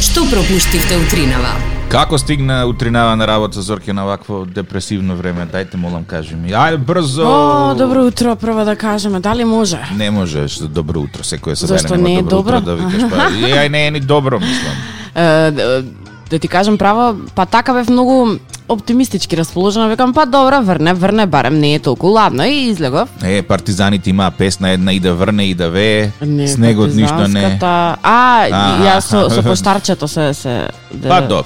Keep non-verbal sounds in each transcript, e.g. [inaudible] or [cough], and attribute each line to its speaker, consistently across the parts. Speaker 1: што пропуштивте утринава.
Speaker 2: Како стигна утринава на работа Зорке на вакво депресивно време? Дајте молам кажи ми. Ајде брзо.
Speaker 3: О, добро утро, прво да кажеме, дали може?
Speaker 2: Не можеш добро утро, секој се
Speaker 3: Зошто не е добро?
Speaker 2: да
Speaker 3: [laughs]
Speaker 2: викаш па. Е, Ај не е ни добро, мислам.
Speaker 3: Е, да- да ти кажам право, па така бев многу оптимистички расположена, викам па добро, врне, врне, барем не е толку ладно и излегов.
Speaker 2: Е, партизаните имаа песна една и да врне и да вее.
Speaker 3: па
Speaker 2: Снегот ништо не.
Speaker 3: партизанската. А,
Speaker 2: А,
Speaker 3: ја со,
Speaker 2: аха. [laughs]
Speaker 3: со поштарчето се... се да...
Speaker 2: Па добро.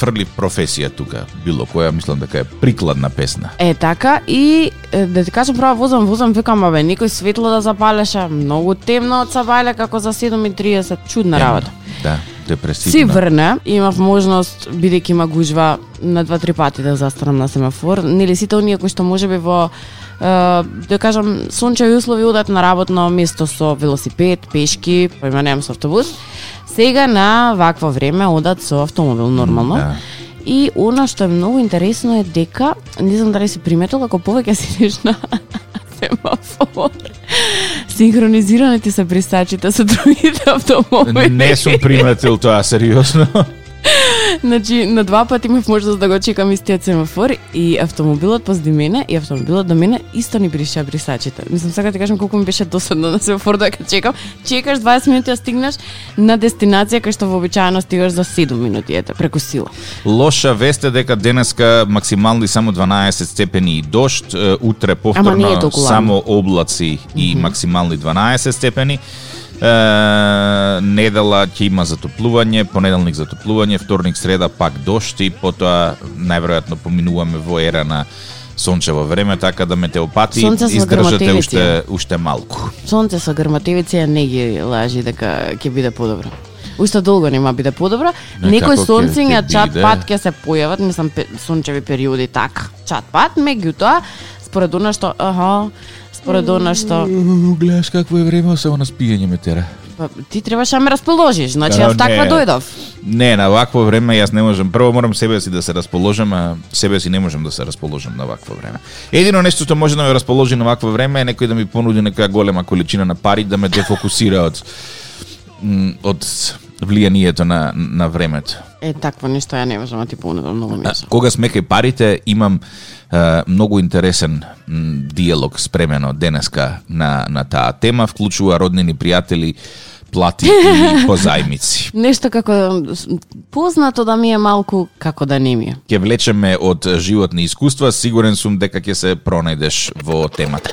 Speaker 2: Фрли професија тука, било која, мислам дека е прикладна песна.
Speaker 3: Е, така, и е, да ти кажам право, возам, возам, викам, абе, некој светло да запалеше, многу темно од сабајле, како за 7.30, чудна работа.
Speaker 2: Да, депресивна.
Speaker 3: Си врне, имав можност, бидејќи има гужва, на два-три пати да застанам на семафор. Нели сите оние кои што можеби во е, да кажам, сончеви услови одат на работно место со велосипед, пешки, поима немам со автобус. Сега на вакво време одат со автомобил нормално.
Speaker 2: да.
Speaker 3: И она што е многу интересно е дека, не знам дали си приметила, ако повеќе седиш на семафор, синхронизирани ти се пресачите со другите автомобили.
Speaker 2: Не сум приметил тоа, сериозно.
Speaker 3: [laughs] Значи, на два пати имав можност да го чекам истиот семафор и автомобилот позади мене и автомобилот до мене исто ни бриша брисачите. Мислам, сега ти кажам колку ми беше досадно на семафор дека чекам. Чекаш 20 минути да стигнеш на дестинација кај што вообичаено стигаш за 7 минути, ете, преку сила.
Speaker 2: Лоша вест е дека денеска максимални само 12 степени и дошт, е, утре
Speaker 3: Ама не е
Speaker 2: повторно
Speaker 3: толку ладно.
Speaker 2: само облаци и максимални 12 степени. Е, недела ќе има затоплување, понеделник затоплување, вторник среда пак дошт и потоа најверојатно поминуваме во ера на сончево време, така да метеопати
Speaker 3: Сонце со
Speaker 2: издржате
Speaker 3: грмотевици.
Speaker 2: уште уште малку.
Speaker 3: Сонце со грматевици не ги лажи дека ќе биде подобро. Уште долго нема биде подобро.
Speaker 2: Не, како
Speaker 3: Некој
Speaker 2: Значи, ќе-
Speaker 3: сонцења
Speaker 2: ќе
Speaker 3: чат
Speaker 2: биде?
Speaker 3: пат ќе се појават, мислам пе- сончеви периоди така, чат пат, меѓутоа според она што, аха, според она што
Speaker 2: Гледаш какво е време, само на спиење ме тера.
Speaker 3: па, ти требаше да ме расположиш, значи
Speaker 2: Да,
Speaker 3: јас таква
Speaker 2: не.
Speaker 3: дојдов.
Speaker 2: Не, на вакво време јас не можам. Прво морам себе си да се расположам, а себе си не можам да се расположам на вакво време. Едино нешто што може да ме расположи на вакво време е некој да ми понуди некоја голема количина на пари да ме дефокусира од м, од влијанието на на времето.
Speaker 3: Е, такво нешто ја не можам да ти понудам многу
Speaker 2: А,
Speaker 3: нешто.
Speaker 2: Кога сме кај парите, имам е, многу интересен м, диалог спремено денеска на на таа тема, вклучува роднини, пријатели, плати и позајмици.
Speaker 3: Нешто како с- познато да ми е малку, како да не ми е.
Speaker 2: ќе влечеме од животни искуства, сигурен сум дека ќе се пронајдеш во темата.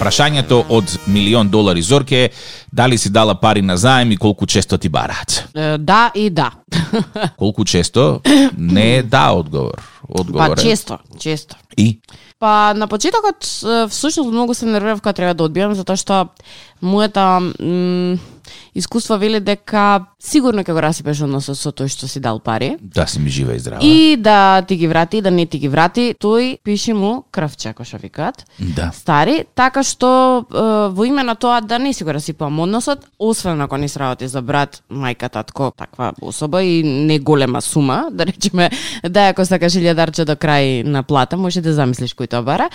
Speaker 2: Прашањето од милион долари Зорке е дали си дала пари на заем и колку често ти бараат.
Speaker 3: Е, Да и да. [laughs]
Speaker 2: Колку
Speaker 3: [clears throat]
Speaker 2: често не е да одговор. Одговор
Speaker 3: Па
Speaker 2: е.
Speaker 3: често, често.
Speaker 2: И
Speaker 3: Па на почетокот е, всушност многу се нервирав кога треба да одбијам затоа што мојата м, искуство вели дека сигурно ќе го расипеш односот со тој што си дал пари.
Speaker 2: да си ми жива и здрава.
Speaker 3: И да ти ги врати, и да не ти ги врати, тој пиши му крвче, ако што викаат.
Speaker 2: Да. [laughs]
Speaker 3: Стари, така што е, во име на тоа да не си го расипам односот, освен ако не сработи за брат, мајка, татко, таква особа и не голема сума, да речеме, да ако сакаш илјадарче до крај на плата, може да замислиш кој тоа бара.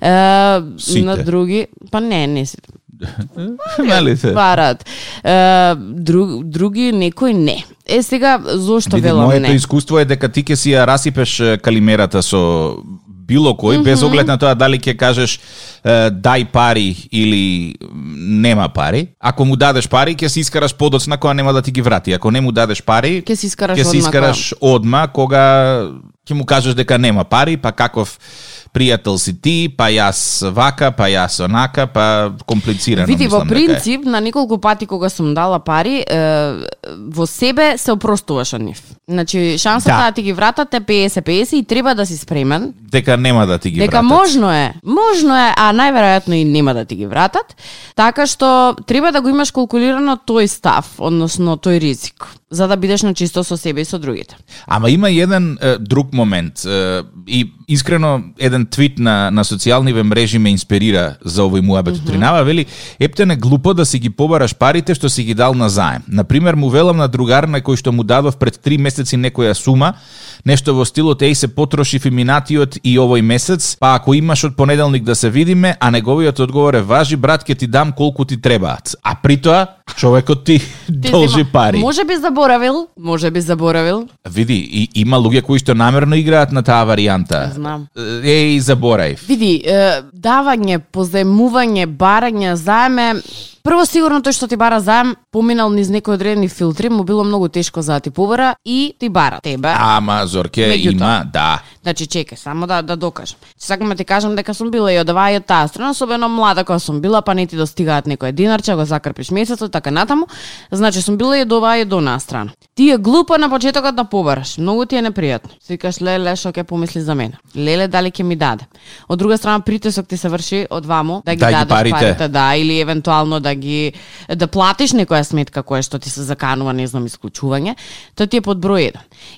Speaker 3: Е,
Speaker 2: Сите.
Speaker 3: На други, па не, не си.
Speaker 2: Нали
Speaker 3: Па,
Speaker 2: се?
Speaker 3: Барат. Е, друг, други некој не. Е сега зошто
Speaker 2: Види,
Speaker 3: велам
Speaker 2: моето
Speaker 3: не?
Speaker 2: искуство е дека ти ќе си ја расипеш е, калимерата со било кој, mm -hmm. без оглед на тоа дали ќе кажеш е, дај пари или м, нема пари. Ако му дадеш пари, ќе си искараш подоцна која нема да ти ги врати. Ако не му дадеш пари,
Speaker 3: Ќе си искараш
Speaker 2: ќе си
Speaker 3: одма да.
Speaker 2: искараш одма кога ќе му кажеш дека нема пари, па каков пријател си ти, па јас вака, па јас онака, па комплицирано
Speaker 3: Види, во
Speaker 2: мислам дека е.
Speaker 3: принцип, на неколку пати кога сум дала пари, е, во себе се опростуваш од нив. Значи, шансата
Speaker 2: Да.
Speaker 3: да. ти ги вратат е 50-50 и треба да си спремен.
Speaker 2: дека нема да ти ги
Speaker 3: Дека
Speaker 2: вратат.
Speaker 3: можно е, можно е, а најверојатно и нема да ти ги вратат. Така што треба да го имаш калкулирано тој став, односно тој ризик. за да бидеш на чисто со себе и со другите.
Speaker 2: Ама има еден е, друг момент е, и искрено еден твит на на социјалниве мрежи ме инспирира за овој муабет. Mm-hmm. Тринава вели, епте не глупо да си ги побараш парите што си ги дал на заем. На пример му велам на другар на кој што му дадов пред три месеци некоја сума, нешто во стилот еј се потрошив и минатиот и овој месец, па ако имаш од понеделник да се видиме, а неговиот одговор е важи брат ќе ти дам колку ти требаат. А при тоа човекот ти,
Speaker 3: Ти
Speaker 2: [laughs] должи
Speaker 3: зема-
Speaker 2: пари.
Speaker 3: Може би заборавил, може би заборавил.
Speaker 2: Види, и, има луѓе кои што намерно играат на таа варијанта.
Speaker 3: Знам.
Speaker 2: Еј, забораев.
Speaker 3: Види, е, давање, позаемување, барање, заеме, прво сигурно тој што ти бара заем, поминал низ некои одредени филтри, му било многу тешко за да ти побара и ти бара тебе.
Speaker 2: Ама, Зорке,
Speaker 3: Меѓутоа.
Speaker 2: има, да.
Speaker 3: Значи, чекај, само да, да докажам. Че сакам да ти кажам дека сум била и од оваа и од таа страна, особено млада кога сум била, па не ти достигаат некој динарче, го закрпиш месецот, така натаму. Значи, сум била и од оваа и од онаа страна. Ти е глупо на почетокот да побараш, многу ти е непријатно. Си викаш, леле, што ќе помисли за мене? Леле, дали ќе ми даде? Од друга страна, притисок ти се врши од ваму, да ги
Speaker 2: Да ги
Speaker 3: дадеш
Speaker 2: парите.
Speaker 3: парите, да, или евентуално да ги да платиш некоја сметка која што ти се заканува, не знам, исклучување, тоа ти е под број 1.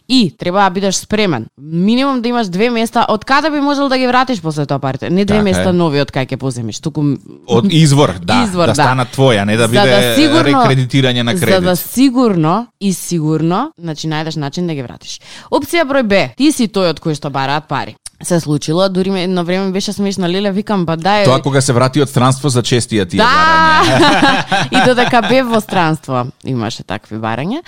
Speaker 3: И треба да бидеш спремен. Минимум да имаш две места од каде би можел да ги вратиш после тоа парите. Не две
Speaker 2: Така е.
Speaker 3: места нови од кај ќе поземиш, туку
Speaker 2: Од извор, да,
Speaker 3: Извор,
Speaker 2: да
Speaker 3: да.
Speaker 2: стана твоја, не да биде рекредитирање на
Speaker 3: За
Speaker 2: кредит.
Speaker 3: да сигурно и сигурно, значи најдеш начин да ги вратиш. Опција број Б, ти си тој од кој што бараат пари. Се случило, дури ме- едно време ми беше смешно, леле, викам, па дај,
Speaker 2: Тоа кога се врати од странство за честија ти е барање.
Speaker 3: Да! [laughs] и додека бев во странство имаше такви барања.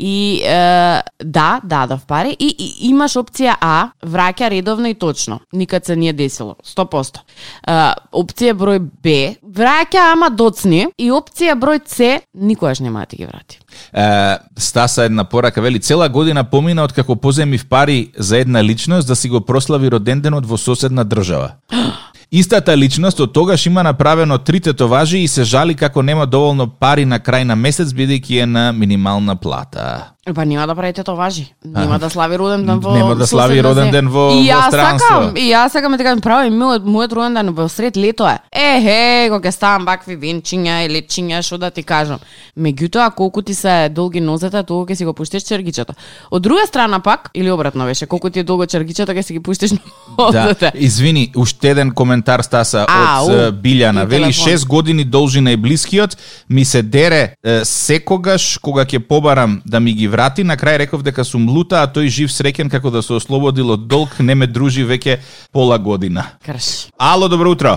Speaker 3: И е, да, дадов пари и, и имаш опција А, враќа редовно и точно. Никад се не е десило, 100%. Е, опција број Б, враќа ама доцни и опција број С, никогаш нема да ти ги врати.
Speaker 2: Е, Стаса една порака вели цела година помина од како поземив пари за една личност да си го прослави роденденот во соседна држава. Истата личност од тогаш има направено три тетоважи и се жали како нема доволно пари на крај на месец бидејќи е на минимална плата.
Speaker 3: Па нема да правите тоа важи. Нема да слави роден ден во
Speaker 2: Нема да слави
Speaker 3: соседна
Speaker 2: роден
Speaker 3: земја.
Speaker 2: ден во-
Speaker 3: И
Speaker 2: во
Speaker 3: јас
Speaker 2: странство.
Speaker 3: сакам, и јас сакам да ти кажам право, и мојот мојот роден ден во сред лето е. Ехе, го ќе ставам бакви венчиња и лечиња, што да ти кажам. Меѓутоа, колку ти се долги нозете, толку ќе си го пуштиш чергичето. Од друга страна пак, или обратно беше, колку ти е долго чергичето, ќе си ги пуштиш [laughs]
Speaker 2: Да,
Speaker 3: нозете.
Speaker 2: извини, уште еден коментар Стаса
Speaker 3: Ау,
Speaker 2: од е, Билјана.
Speaker 3: и
Speaker 2: Вели
Speaker 3: телефон.
Speaker 2: 6 години должи најблискиот, ми се дере е, секогаш кога ќе побарам да ми ги врати, на крај реков дека сум лута, а тој жив среќен како да се ослободил од долг, не ме дружи веќе пола година.
Speaker 3: Крш.
Speaker 2: Ало, добро утро.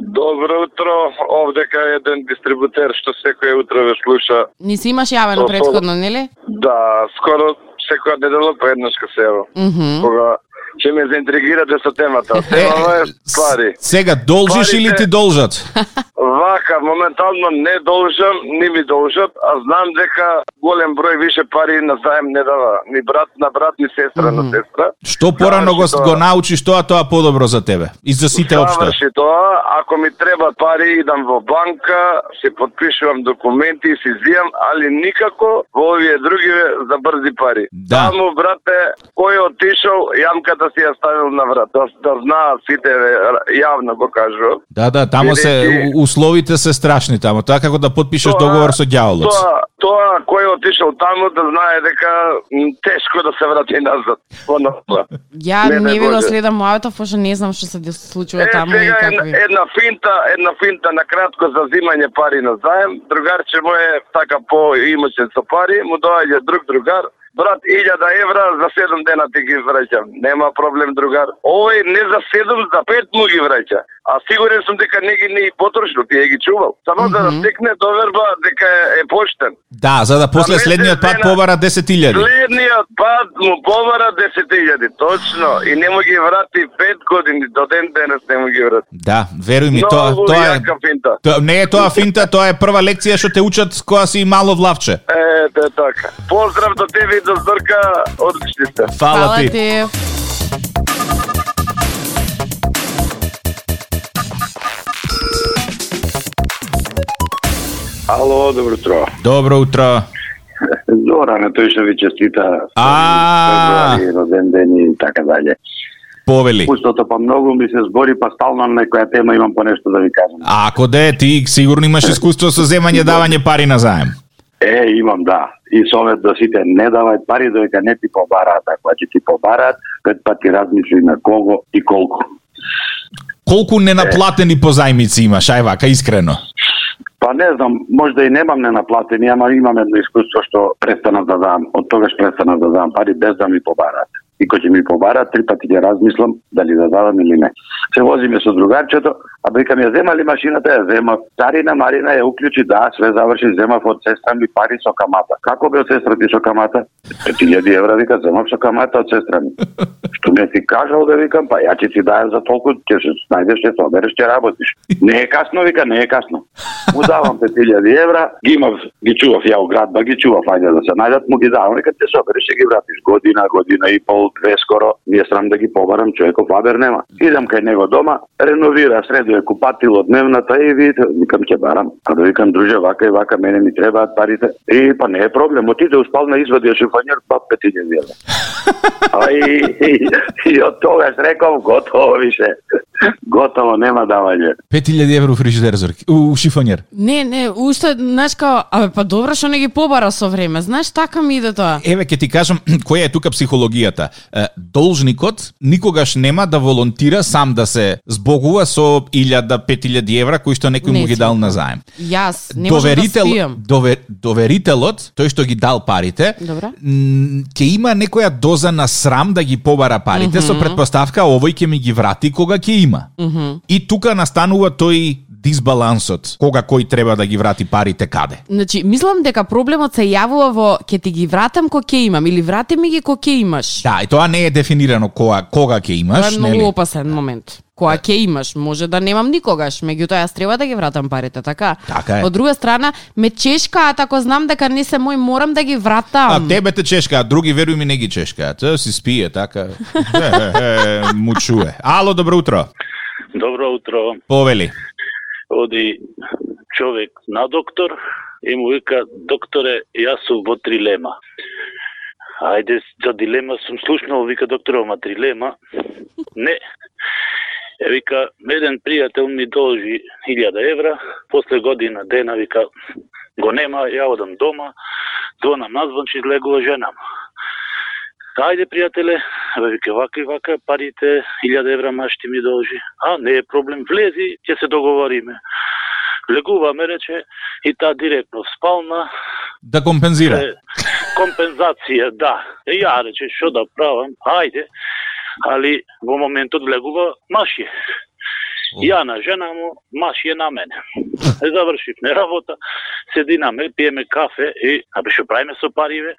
Speaker 1: Добро утро, овдека е еден дистрибутер што секој утро ве слуша.
Speaker 3: Ни си имаш јавено
Speaker 1: Тоа,
Speaker 3: претходно, нели?
Speaker 1: Да, скоро секоја недела по еднаш ка се ево.
Speaker 3: Мгм.
Speaker 1: Кога ќе ме заинтригирате со темата. Темава е пари.
Speaker 2: с- сега должиш
Speaker 1: Парите.
Speaker 2: или ти должат?
Speaker 1: Вака, моментално не должам, не ми должат, а знам дека голем број више пари на заем не дава. Ни брат на брат, ни сестра на сестра.
Speaker 2: Што порано го,
Speaker 1: Заврши
Speaker 2: го
Speaker 1: тоа.
Speaker 2: научиш тоа, тоа подобро за тебе. И за сите општо.
Speaker 1: Заврши тоа, ако ми треба пари, идам во банка, се подпишувам документи и си зијам, али никако во овие други за брзи пари.
Speaker 2: Да.
Speaker 1: Таму, брате, кој е отишол, јамката си ја ставил на врат. Да, да знаат сите, бе, јавно го кажувам.
Speaker 2: Да, да, тамо се,
Speaker 1: Бидејќи-
Speaker 2: у- условите се страшни тамо. Тоа како да подпишеш договор со ѓаволот.
Speaker 1: Тоа, тоа кој е отишол таму да знае дека м, тешко да се врати назад. Понапред.
Speaker 3: Ја
Speaker 1: Не,
Speaker 3: не,
Speaker 1: не
Speaker 3: ви го
Speaker 1: може.
Speaker 3: следам муавето, пошто не знам што се дес- случува
Speaker 1: Е,
Speaker 3: таму и
Speaker 1: сега една,
Speaker 3: какви.
Speaker 1: една финта, една финта на кратко за зимање пари на заем. Другарче мој е така по имачен со пари, му доаѓа друг другар. Брат, 1000 евра за 7 дена ти ги враќам. Нема проблем, другар. Овој не за 7, за 5 му ги враќа. А сигурен сум дека не ги не и потрошил, ти е ги чувал. Само за да стекне доверба дека е, е поштен.
Speaker 2: Да, за да после
Speaker 1: Замете
Speaker 2: следниот пат
Speaker 1: жена.
Speaker 2: побара
Speaker 3: да.
Speaker 2: 10.000.
Speaker 1: Следниот пат му побара 10.000, точно. И не му ги врати 5 години, до ден денес не му ги врати.
Speaker 2: Да, веруј ми, тоа
Speaker 1: Многу
Speaker 2: тоа е
Speaker 1: јака финта.
Speaker 2: тоа не е тоа финта, тоа е прва лекција што те учат кога си мало влавче.
Speaker 4: да,
Speaker 1: Ете така. Поздрав до тебе и до Зорка, одлични сте.
Speaker 2: Фала ти.
Speaker 3: ти.
Speaker 1: Ало, добро утро.
Speaker 2: Добро утро.
Speaker 1: Зоране, тој што ви честита.
Speaker 2: А.
Speaker 1: Поздрави, Роден ден и така дале.
Speaker 2: Повели.
Speaker 1: Пустото па многу ми се збори, па стално на некоја тема имам понешто да ви кажам.
Speaker 2: А Ако де ти сигурно имаш искуство со земање давање пари на заем.
Speaker 4: Е, имам, да. И совет до сите, не давај пари доека не ти побараат, а кога ќе ти побараат, пет пати размисли на кого и колку.
Speaker 2: Колку ненаплатени позајмици имаш, ај вака, искрено.
Speaker 4: Па не знам, можда и немам ненаплатени, ама имам едно искуство што престанав да дам. Од тогаш престанав да дам пари без да ми побараат. И кој ќе ми побара, три пати ќе размислам дали да дадам или не. Се возиме со другарчето, а викам ја зема ли машината, ја зема. Царина Марина ја уклучи, да, све заврши, земав од сестра ми пари со камата. Како бе од сестра ти со камата? 4000 евра, вика, земав со камата од сестра ми. Што ми ти кажал да викам, па ја ќе ти дајам за толку, ќе се најдеш, ќе се обереш, ќе работиш. Не е касно, вика, не е касно. Му давам 5000 евра, ги имав, ги чував ја у градба, ги чував, ајде да се најдат, му ги давам, вика, ќе се обереш, ќе ги вратиш година, година и пол, две скоро, ми е срам да ги побарам, човеков абер нема. Идам кај него дома, реновира, средо е купатило дневната и видите, викам ќе барам. А да викам друже вака и вака мене ми требаат парите. И па не е проблем, отиде у спална извади ја шифонер па 5000 евра. А и, и, и од тогаш реков готово више. Готово нема давање.
Speaker 2: 5000 евро у фрижидер, Зорки. у, у шифонер.
Speaker 3: Не, не, уште, знаеш као, абе, па добро што не ги побара со време, знаеш, така ми иде тоа.
Speaker 2: Еве ќе ти кажам [clears throat] која е тука психологијата. Е, Должникот никогаш нема да волонтира сам да се збогува со 1000 5000 евра кои што некој му
Speaker 3: Не
Speaker 2: ги
Speaker 3: си.
Speaker 2: дал на заем.
Speaker 3: Јас, не можам да спијам.
Speaker 2: довер, доверителот, тој што ги дал парите,
Speaker 3: Добра.
Speaker 2: м, ќе има некоја доза на срам да ги побара парите со предпоставка овој ќе ми ги врати кога ќе има. И тука настанува тој дисбалансот, кога кој треба да ги врати парите каде.
Speaker 3: Значи, мислам дека проблемот се јавува во ќе ти ги вратам кој ќе имам или врати ми ги кој ќе имаш.
Speaker 2: Да, и тоа не е дефинирано кога кога ќе
Speaker 3: Тоа е
Speaker 2: имаш,
Speaker 3: многу
Speaker 2: нели?
Speaker 3: опасен момент. Која ќе имаш, може да немам никогаш, меѓутоа јас треба да ги вратам парите, така?
Speaker 2: Така е.
Speaker 3: Од друга страна, ме чешкаат ако знам дека не се мој, морам да ги вратам.
Speaker 2: А тебе те чешкаат, други веруј ми не ги чешкаат. Е, Си спие така. Е, е, е, мучуе. Ало, добро утро.
Speaker 5: Добро утро.
Speaker 2: Повели.
Speaker 5: Оди човек на доктор и му вика, докторе, јас сум во трилема. Ајде, за дилема сум слушнал, вика доктор, ама трилема? Не. Е, вика, еден пријател ми должи 1000 евра, после година дена, вика, го нема, ја одам дома, звонам назван, че излегува жена му. Ајде, пријателе, бе, вика, вака и вака, парите, 1000 евра маш ти ми должи. А, не е проблем, влези, ќе се договориме. Легуваме, рече, и таа директно в спална,
Speaker 2: Да компензира.
Speaker 5: е, компензација, да. Е, ја рече, што да правам, ајде. Али во моментот влегува маши. Ја на жена му, маши е на мене. Е, завршивме работа, сединаме, пиеме кафе и, абе, што правиме со париве?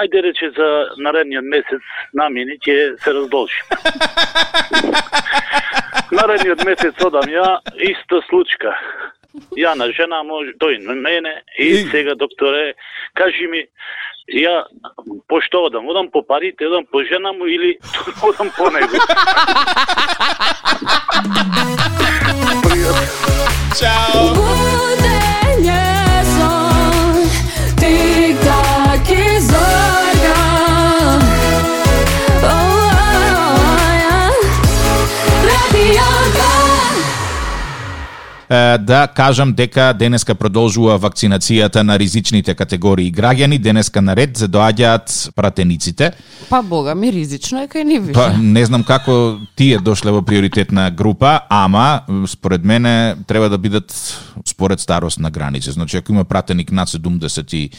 Speaker 5: Ајде рече за наредниот месец намини ќе се раздолжи. наредниот месец одам ја, иста случка. Ја на жена може, тој на мене и
Speaker 2: И-
Speaker 5: сега докторе, кажи ми, ја пошто одам? Одам по парите, одам по жена му или [laughs] одам по него?
Speaker 2: Чао.
Speaker 6: Будење сон, тик-так и зорга. О-о-о-о-ја. Радио Гар.
Speaker 2: Е, да кажам дека денеска продолжува вакцинацијата на ризичните категории граѓани. Денеска на ред доаѓаат пратениците.
Speaker 3: Па бога ми ризично е кај ни више.
Speaker 2: Па не знам како тие дошле во приоритетна група, ама според мене треба да бидат според старост на граница. Значи ако има пратеник над 72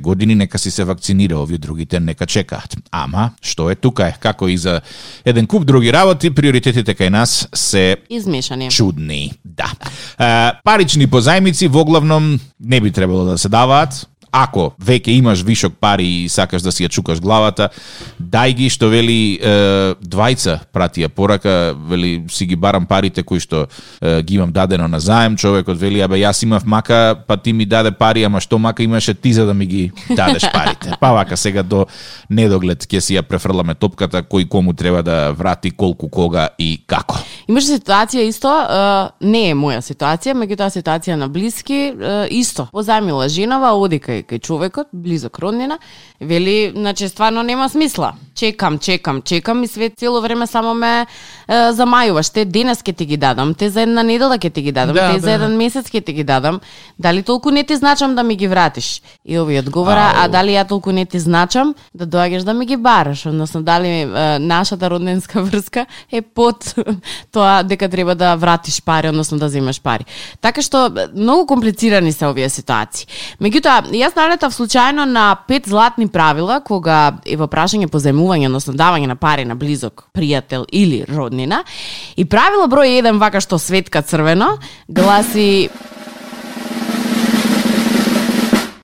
Speaker 2: години, нека си се вакцинира, овие другите нека чекаат. Ама што е тука е како и за еден куп други работи, приоритетите кај нас се
Speaker 3: Измешани.
Speaker 2: чудни. Да. Е, парични позајмици воглавном не би требало да се даваат. Ако веќе имаш вишок пари и сакаш да си ја чукаш главата, дај ги што вели е, двајца пратија порака, вели си ги барам парите кои што е, ги имам дадено на заем, човекот вели абе јас имав мака, па ти ми даде пари, ама што мака имаше ти за да ми ги дадеш парите. Па вака сега до недоглед ќе си ја префрламе топката кој кому треба да врати, колку, кога и како.
Speaker 3: Имаше ситуација исто, е, не е моја ситуација, меѓутоа ситуација на блиски, е, исто. Позајмила женава, оди кај кај, кај човекот, близок роднина, вели, значи, стварно нема смисла. Чекам, чекам, чекам и све цело време само ме е, замајуваш. Те денес ќе ти ги дадам, те за една недела ќе ти ги дадам,
Speaker 4: Да,
Speaker 3: те за
Speaker 4: да.
Speaker 3: еден месец ќе ти ги дадам. Дали толку не ти значам да ми ги вратиш? И овој одговора, а
Speaker 2: Ау.
Speaker 3: дали ја толку не ти значам да доаѓаш да ми ги бараш, односно дали е, нашата родненска [laughs] врска е под [laughs] тоа дека треба да вратиш пари, односно да земаш пари. Така што е, многу комплицирани се овие ситуации. Меѓутоа, јас налетав случајно на пет златни правила кога е во прашање по земување, односно давање на пари на близок пријател или роднина. И правило број 1 вака што светка црвено гласи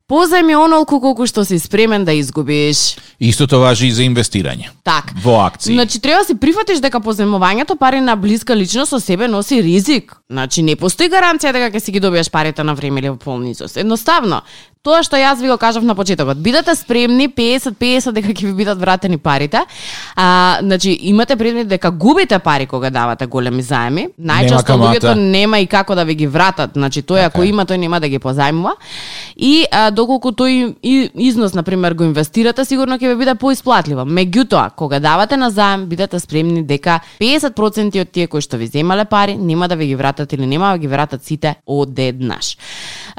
Speaker 3: Позајми онолку колку што си спремен да изгубиш.
Speaker 2: Истото важи и за инвестирање.
Speaker 3: Так.
Speaker 2: Во акции.
Speaker 3: Значи треба да си прифатиш дека поземувањето пари на блиска личност со себе носи ризик. Значи не постои гаранција дека ќе си ги добиеш парите на време или во полн изос. Едноставно, тоа што јас ви го кажав на почетокот, бидете спремни 50-50 дека ќе ви бидат вратени парите. А, значи имате предвид дека губите пари кога давате големи заеми. Најчесто
Speaker 2: камата.
Speaker 3: луѓето нема и како да ви ги вратат. Значи тој ако
Speaker 2: Така е.
Speaker 3: има тој нема да ги позајмува. И а, доколку тој и- износ на пример го инвестирате, сигурно ќе ви биде поисплатливо. Меѓутоа, кога давате на заем, бидете спремни дека 50% од тие кои што ви земале пари нема да ви ги вратат или нема да ги вратат сите одеднаш.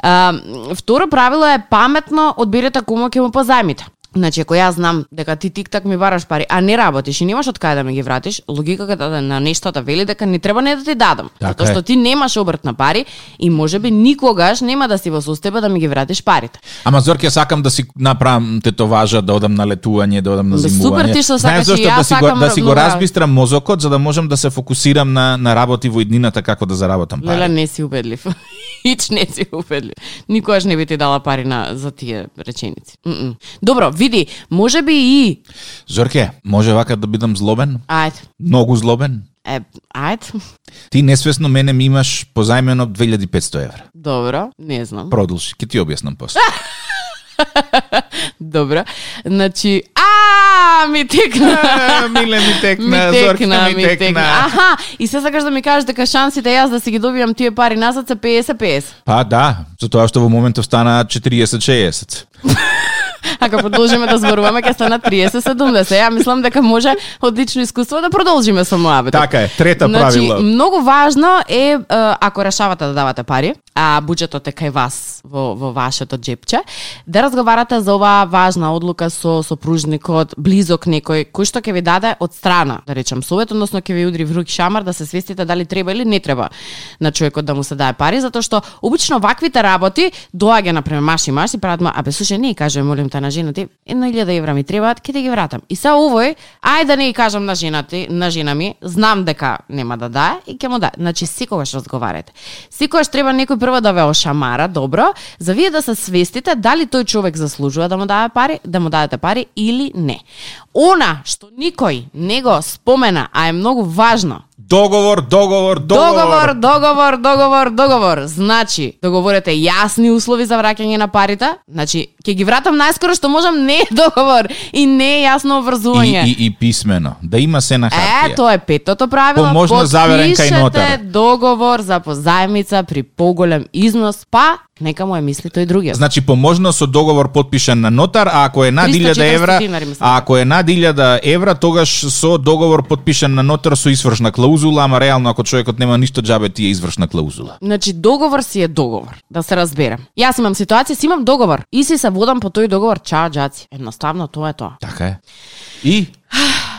Speaker 3: А, второ правило е паметно одберете кому ќе му позајмите. Значи, ако јас знам дека ти тик-так ми бараш пари, а не работиш и немаш од кај да ми ги вратиш, логиката да на нештата вели дека не треба не да ти дадам.
Speaker 2: Така
Speaker 3: затоа
Speaker 2: е.
Speaker 3: што ти немаш обрт на пари и можеби никогаш нема да си во состојба да ми ги вратиш парите.
Speaker 2: Ама Зорке сакам да си направам тетоважа, да одам на летување, да одам на
Speaker 3: Бе,
Speaker 2: зимување.
Speaker 3: супер ти што
Speaker 2: Знаеш
Speaker 3: сакаш, и
Speaker 2: зошто?
Speaker 3: ја
Speaker 2: да си го,
Speaker 3: сакам
Speaker 2: да си го
Speaker 3: многу.
Speaker 2: разбистрам мозокот за да можам да се фокусирам на на работи во иднината како да заработам пари.
Speaker 3: Леле, не си убедлив. [laughs] Ич не си убедлив. Никогаш не би ти дала пари на за тие реченици. Мм. Добро, види, може би и...
Speaker 2: Зорке, може вака да бидам злобен?
Speaker 3: Ајде,
Speaker 2: Многу злобен?
Speaker 3: е, ајде, [laughs]
Speaker 2: Ти несвесно мене ми имаш позајмено 2500 евра.
Speaker 3: добро, не знам.
Speaker 2: Продолжи, ќе ти објаснам
Speaker 3: [laughs]
Speaker 2: после.
Speaker 3: Добро. Значи, а ми текна.
Speaker 2: Миле ми
Speaker 3: Ми [laughs] текна, ми текна. Аха, и се сакаш да ми кажеш дека шансите јас да си ги добивам тие пари назад се 50-50.
Speaker 2: Па да, затоа што во моментов стана 40-60.
Speaker 3: Ако продолжиме да зборуваме, ќе стана 30-70. Ја мислам дека може од лично искуство да продолжиме со мојабетот.
Speaker 2: Така е, трета правило.
Speaker 3: Многу важно е, е, ако решавате да давате пари, а буџетот е кај вас, во, во вашето джепче, да разговарате за оваа важна одлука со сопружникот, близок некој, кој што ќе ви даде од страна, да речам совет, односно ќе ви удри врук шамар да се свестите дали треба или не треба на човекот да му се дае пари, затоа што обично ваквите работи доаѓа на пример маш и маш и прават му, абе слушај, не и кажам молим те на жена ти, едно илјада евра ми требаат, ќе ти ги вратам. И се овој, ај да не и кажам на жена ти, на жена ми, знам дека нема да дае и ќе му дае. Значи секогаш разговарате. Секогаш треба некој прво да ве ошамара, добро, за вие да се свестите дали тој човек заслужува да му дае пари, да му дадете пари или не. Она што никој не го спомена, а е многу важно,
Speaker 2: Договор, договор,
Speaker 3: Договор, договор, договор, договор. Значи, договорете јасни услови за враќање на парите. Значи, ќе ги вратам најскоро што можам, не е договор и не е јасно обврзување.
Speaker 2: И, и, и писмено. Да има се на хартија.
Speaker 3: Е, тоа е петото правило.
Speaker 2: Поможно заверен кај
Speaker 3: Потпишете
Speaker 2: нотар.
Speaker 3: договор за позајмица при поголем износ, па нека му е мисли тој другиот.
Speaker 2: Значи поможно со договор потпишан на нотар, а ако е над 1000 евра,
Speaker 3: 340 динари, мислам.
Speaker 2: а ако е над 1000 евра, тогаш со договор потпишан на нотар со извршна клаузула, ама реално ако човекот нема ништо џабе ти е извршна клаузула.
Speaker 3: Значи договор си е договор, да се разберем. Јас имам ситуација, си имам договор и си се водам по тој договор, чао џаци. Едноставно тоа е тоа.
Speaker 2: Така е. И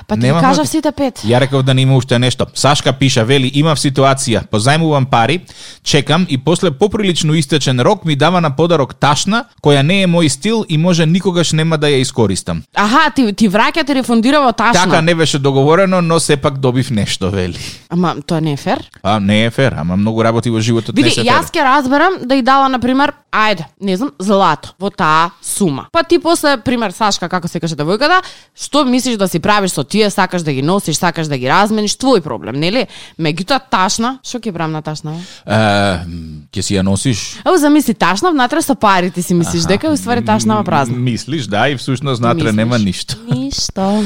Speaker 3: Па ти
Speaker 2: Нема
Speaker 3: Нема кажав
Speaker 2: моти.
Speaker 3: сите пет.
Speaker 2: Ја реков да не има уште нешто. Сашка пиша, вели, имав ситуација, позајмувам пари, чекам и после поприлично истечен рок ми дава на подарок ташна, која не е мој стил и може никогаш нема да ја искористам.
Speaker 3: Аха, ти ти враќа ти рефундира во ташна.
Speaker 2: Така не беше договорено, но сепак добив нешто, вели.
Speaker 3: Ама тоа не е фер.
Speaker 2: А, не е фер, ама многу работи во животот не
Speaker 3: Види,
Speaker 2: се
Speaker 3: јас
Speaker 2: јас...
Speaker 3: ќе разберам да и дала на пример, ајде, не знам, злато во таа сума. Па ти после пример Сашка како се каже девојката, што мислиш да си правиш со тие, сакаш да ги носиш, сакаш да ги размениш, твој проблем, нели? Меѓутоа ташна, што ќе правам на ташна? бе?
Speaker 2: Ке си ја носиш?
Speaker 3: Ау, замисли ташна внатре со парите си мислиш дека е уствари ташнава празна.
Speaker 2: Мислиш, да, и всушност натре
Speaker 3: Мислиш.
Speaker 2: нема ништо.
Speaker 3: Ништо.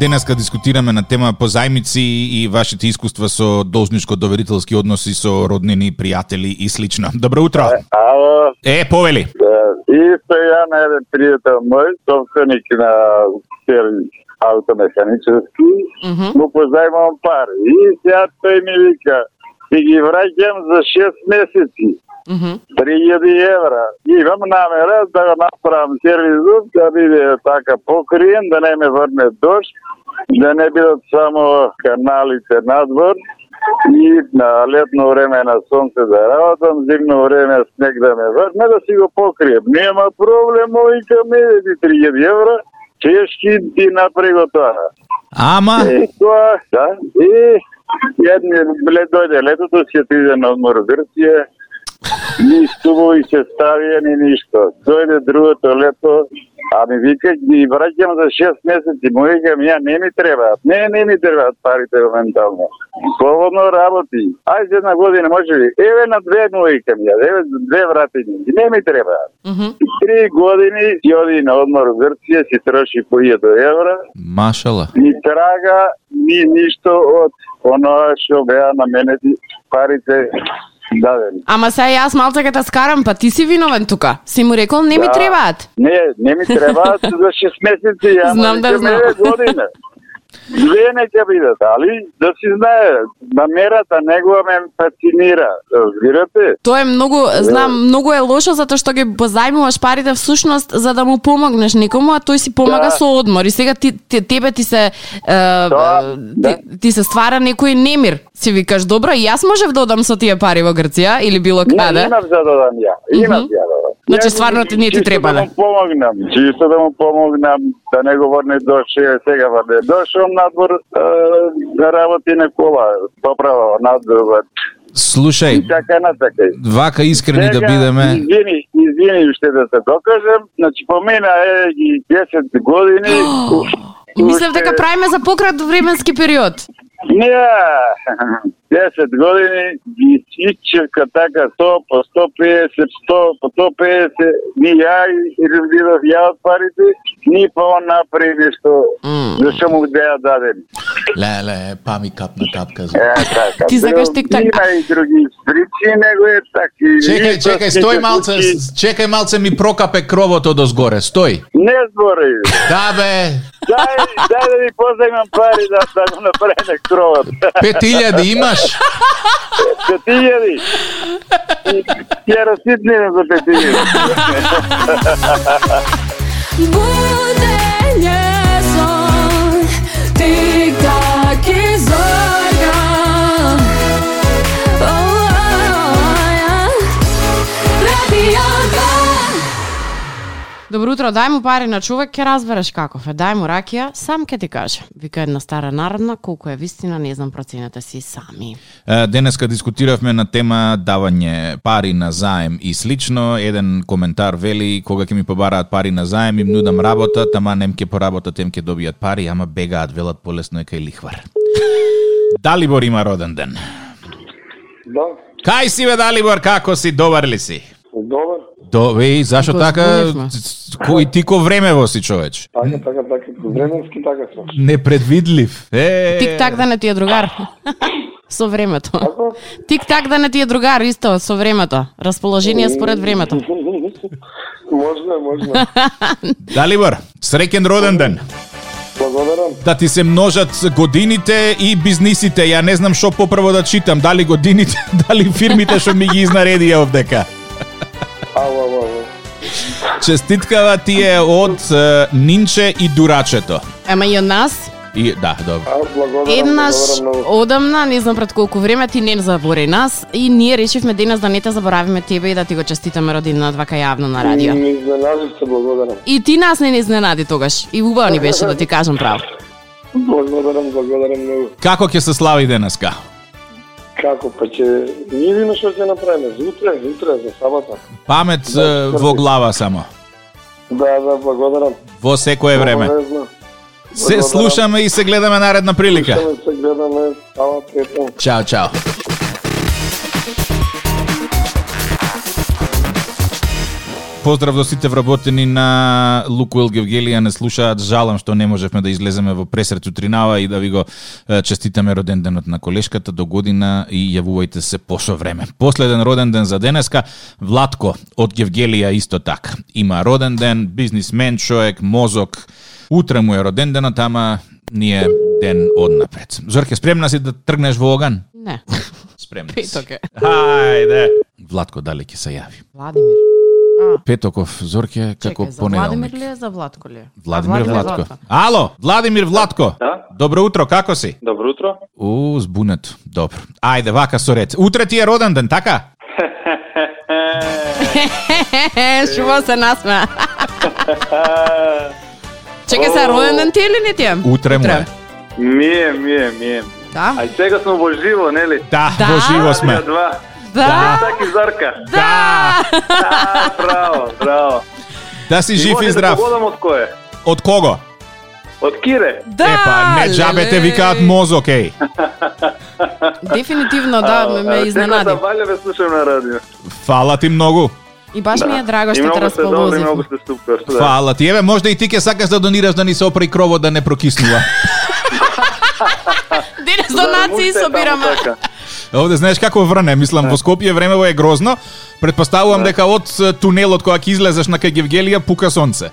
Speaker 2: денеска дискутираме на тема позајмици и вашите искуства со должничко-доверителски односи со роднини, пријатели и слично. Добро утро.
Speaker 4: Ало,
Speaker 2: Е, повели.
Speaker 4: да. Исто Јан е еден пријател мој, собственик на Серлик автомеханически,
Speaker 3: Мгм.
Speaker 4: му позајмам пари. И сега тој ми вика, ти ги враќам за 6 месеци,
Speaker 3: Мгм.
Speaker 4: 3000 евра. И имам намера да го направам сервизот, да биде така покриен, да не ме врне дожд, да не бидат само каналите надвор, и на летно време на сонце да работам, зимно време снег да ме врне, да си го покрием. Нема проблем, овика ме, ти 3000 евра, чешки ти направи го тоа.
Speaker 2: Ама,
Speaker 4: И тоа, да, и едни ле дојде летото, си отиде на одмор у Грција, ни стубови се ставија, ни ништо. Дојде другото лето, а ми вика, ги враќам за 6 месеци, му викам, ја не ми треба, не, не ми требаат парите моментално. Слободно работи, ај за една година може би, еве на две му викам, ја, еве за две вратини, не ми требаат.
Speaker 3: Мгм.
Speaker 4: Три години си оди на одмор у Грција, си троши по 1000 евра,
Speaker 2: машала.
Speaker 4: ни трага ни ништо од оноа што беа на мене ти парите Да, дадени.
Speaker 3: Ама сега јас малце ке те скарам, па ти си виновен тука. Си му рекол не ми
Speaker 4: Да.
Speaker 3: требаат.
Speaker 4: Не, не ми
Speaker 3: [laughs]
Speaker 4: требаат за 6 месеци, ја
Speaker 3: Знам
Speaker 4: му
Speaker 3: да
Speaker 4: викам,
Speaker 3: знам.
Speaker 4: «Еве, година. Две нека бидат, али да си знае, намерата негова ме фасцинира, да разбирате?
Speaker 3: Тоа е многу, знам, многу е лошо затоа што ги позајмуваш парите всушност за да му помогнеш некому, а тој си помага
Speaker 4: Да.
Speaker 3: со одмор и сега ти, ти тебе ти се е,
Speaker 4: Тоа,
Speaker 3: е,
Speaker 4: да.
Speaker 3: ти, ти се ствара некој немир. Си викаш, добро, и јас можев да одам со тие пари во Грција или било
Speaker 4: Не,
Speaker 3: каде.
Speaker 4: имам за да дам ја, имам
Speaker 3: Мгм.
Speaker 4: ја да дам.
Speaker 3: Значи,
Speaker 4: Ја,
Speaker 3: стварно ти не ти
Speaker 4: чисто
Speaker 3: требале.
Speaker 4: Да му помогнам, чисто да му помогнам, да не го врне доше, сега врне дошо надвор, е, да работи на кола, поправа надвор,
Speaker 2: Слушај,
Speaker 4: и така и натака.
Speaker 2: вака искрени да бидеме.
Speaker 4: Извини, извини уште да се докажам, значи помина е ги 10
Speaker 3: [gasps]
Speaker 4: години.
Speaker 3: Мислев дека
Speaker 4: уште-
Speaker 3: правиме за пократ временски период.
Speaker 4: Не, [laughs] 10 години ги исчерка така 100 по 150, 100 по 150, ни ја и разбирав ја од парите, ни па он направи нешто, зашто му да беа дадени.
Speaker 7: Леле, па ми капна капка. за-
Speaker 4: Е, така.
Speaker 3: Ти сакаш
Speaker 4: Друг-
Speaker 3: тик-так.
Speaker 4: Има и други причини, него е таки.
Speaker 7: Чекај,
Speaker 4: Ништо
Speaker 7: чекај,
Speaker 4: се
Speaker 7: стој
Speaker 4: ќе
Speaker 7: малце,
Speaker 4: случи.
Speaker 7: с- чекај малце ми прокапе кровот од озгоре, стој.
Speaker 4: Не збори.
Speaker 7: Да бе,
Speaker 4: Дај, дај да ми позајмам пари да, да го направи на кровот.
Speaker 7: 5000 имаш?
Speaker 4: Се ти јади. Ја раситнирам за петијади.
Speaker 8: Budenie son, tik tak i zorga. Oh, ja. Radio Bar.
Speaker 3: Добро утро, дај му пари на човек, ќе разбереш каков е. Дај му ракија, сам ќе ти каже. Вика една стара народна, колку е вистина, не знам проценете си сами.
Speaker 2: Е, Денеска дискутиравме на тема давање пари на заем и слично. Еден коментар вели, кога ќе ми побараат пари на заем, им нудам работа, тама нем ќе поработат, им ќе добијат пари, ама бегаат, велат полесно е кај лихвар. Далибор има роден ден.
Speaker 1: Да,
Speaker 2: Кај си бе, Далибор, како си, добар ли си?
Speaker 1: добар.
Speaker 2: Добре, и зашо
Speaker 3: Го
Speaker 2: така,
Speaker 3: збунивме.
Speaker 2: кој ти ко времево си, човеч?
Speaker 1: Така, така, така. Временски така сме. [laughs]
Speaker 2: Непредвидлив. Е,
Speaker 3: Тик так да не ти е другар. Со времето. Тик так да не ти е другар, исто, со времето. Расположение според времето.
Speaker 1: Можно, можно.
Speaker 2: Далибор, среќен роден ден.
Speaker 1: Благодарам.
Speaker 2: да ти се множат годините и бизнисите. Ја не знам што попрво да читам, дали годините, [laughs] дали фирмите што ми ги изнаредија овдека.
Speaker 1: Ало, ало, ало.
Speaker 2: Честиткава ти е од е, Нинче и Дурачето.
Speaker 3: Ема и од нас,
Speaker 2: И да, добро.
Speaker 1: Аз благодарам,
Speaker 3: еднаш
Speaker 1: благодарам много.
Speaker 3: одамна, не знам пред колку време, ти не забори нас и ние решивме денес да не те заборавиме тебе и да ти го честитаме родинат вака јавно на радио.
Speaker 1: Ми изненадив се, благодарам.
Speaker 3: И ти нас не не изненади тогаш. И убаво ни беше да ти кажам право.
Speaker 1: Благодарам, благодарам много.
Speaker 2: Како ќе се слави денеска?
Speaker 1: Како, па ќе... Ние видиме што ќе направиме. За утре, за утре, за сабота.
Speaker 2: Памет е, во глава само.
Speaker 1: Да, да, благодарам.
Speaker 2: Во секое време.
Speaker 1: Обавезно.
Speaker 2: Се слушаме и се гледаме наредна прилика.
Speaker 1: Ќе се гледаме, става пријатно.
Speaker 7: Чао, чао.
Speaker 2: Поздрав до сите вработени на Лукоил Гевгелија не слушаат. Жалам што не можевме да излеземе во пресрет утринава и да ви го е, честитаме роден денот на колешката до година и јавувајте се пошо време. Последен роден ден за денеска, Владко од Гевгелија исто така. Има роден ден, бизнисмен, човек, мозок. Утре му е роден денот, ама ние ден однапред. Зорке, спремна си да тргнеш во оган?
Speaker 3: Не.
Speaker 2: Спремна си.
Speaker 3: Петок е.
Speaker 2: Хајде. Владко дали ќе се јави.
Speaker 3: Владимир.
Speaker 2: Петоков, Зорке, како
Speaker 3: Чекај, за Владимир
Speaker 2: понеделник.
Speaker 3: ли е, за Владко ли е?
Speaker 2: Така Владимир
Speaker 3: А,
Speaker 2: Владко. Ало, Владимир Владко.
Speaker 4: Да?
Speaker 2: Добро утро, како си?
Speaker 4: Добро утро.
Speaker 2: У, збунето. Добро. Ајде, вака со ред. Утре ти е роден ден, така?
Speaker 3: Е, шумо се
Speaker 1: [laughs]
Speaker 3: насмеа. Чекај се, роден ден ти е или не ти е?
Speaker 2: Утре му е.
Speaker 3: Утре.
Speaker 4: Мие, мие, мие.
Speaker 3: Да?
Speaker 4: Ај сега сме во живо, нели?
Speaker 2: Да,
Speaker 3: Да?
Speaker 2: во живо сме.
Speaker 4: Тие Два.
Speaker 3: Да.
Speaker 4: Така и Зарка.
Speaker 2: Да.
Speaker 4: А, браво, браво.
Speaker 2: Да си жив и здрав.
Speaker 4: Погодам од кој? е?
Speaker 2: Од кого?
Speaker 4: Од Кире.
Speaker 3: Да.
Speaker 2: Епа, не џабе те
Speaker 3: леле.
Speaker 2: викаат мозок, еј.
Speaker 3: Дефинитивно да, ме, ме
Speaker 4: Секојата
Speaker 3: изненади.
Speaker 4: Валја ве слушам на радио.
Speaker 2: Фала ти многу.
Speaker 3: И баш ми е драго
Speaker 4: И
Speaker 3: што те
Speaker 4: многу сте добри, многу
Speaker 3: расположив.
Speaker 4: сте супер. да.
Speaker 2: Фала ти. Еве, можда и ти ке сакаш да донираш да ни се опри кровот да не прокиснува.
Speaker 3: Денес
Speaker 4: Да,
Speaker 3: донации
Speaker 4: муште е
Speaker 3: собираме.
Speaker 4: таму така.
Speaker 2: Овде знаеш како врне, мислам во Скопје времево е грозно. Предпоставувам дека од е, тунелот кога ќе излезеш на кај Гевгелија пука сонце.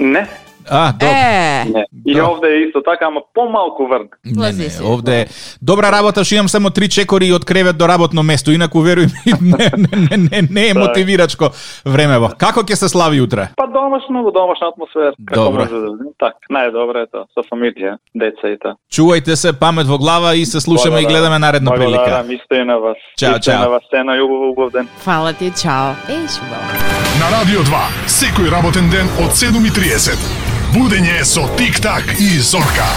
Speaker 4: Не,
Speaker 2: А, добро.
Speaker 3: Е,
Speaker 4: не. И
Speaker 2: Да.
Speaker 4: овде е исто така, ама помалку врн.
Speaker 2: Не, не,
Speaker 3: лази си.
Speaker 2: овде е. Добра работа што имам само три чекори од кревет до работно место, инаку веруј ми, [laughs] не, не, не, не, не е мотивирачко времево. Како ќе се слави утре?
Speaker 4: Па домашно, во домашна атмосфера. Како
Speaker 2: Добро.
Speaker 4: може да Так, најдобро е тоа, со фамилија, деца и тоа.
Speaker 2: Чувајте се, памет во глава и се слушаме и
Speaker 4: Благодарам.
Speaker 2: гледаме наредна прилика.
Speaker 4: Благодарам, исто и на вас.
Speaker 2: Чао,
Speaker 4: Исто и
Speaker 2: чао.
Speaker 4: на вас, сена, јубав, убав ден.
Speaker 3: фала ти, чао. Е, шубаво.
Speaker 9: На Радио 2, секој работен ден од 7.30. Будење со Тик-так и Зорка.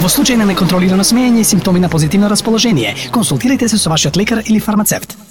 Speaker 10: Во случај на неконтролирано смеење и симптоми на позитивно расположение, консултирайте се со вашиот лекар или фармацевт.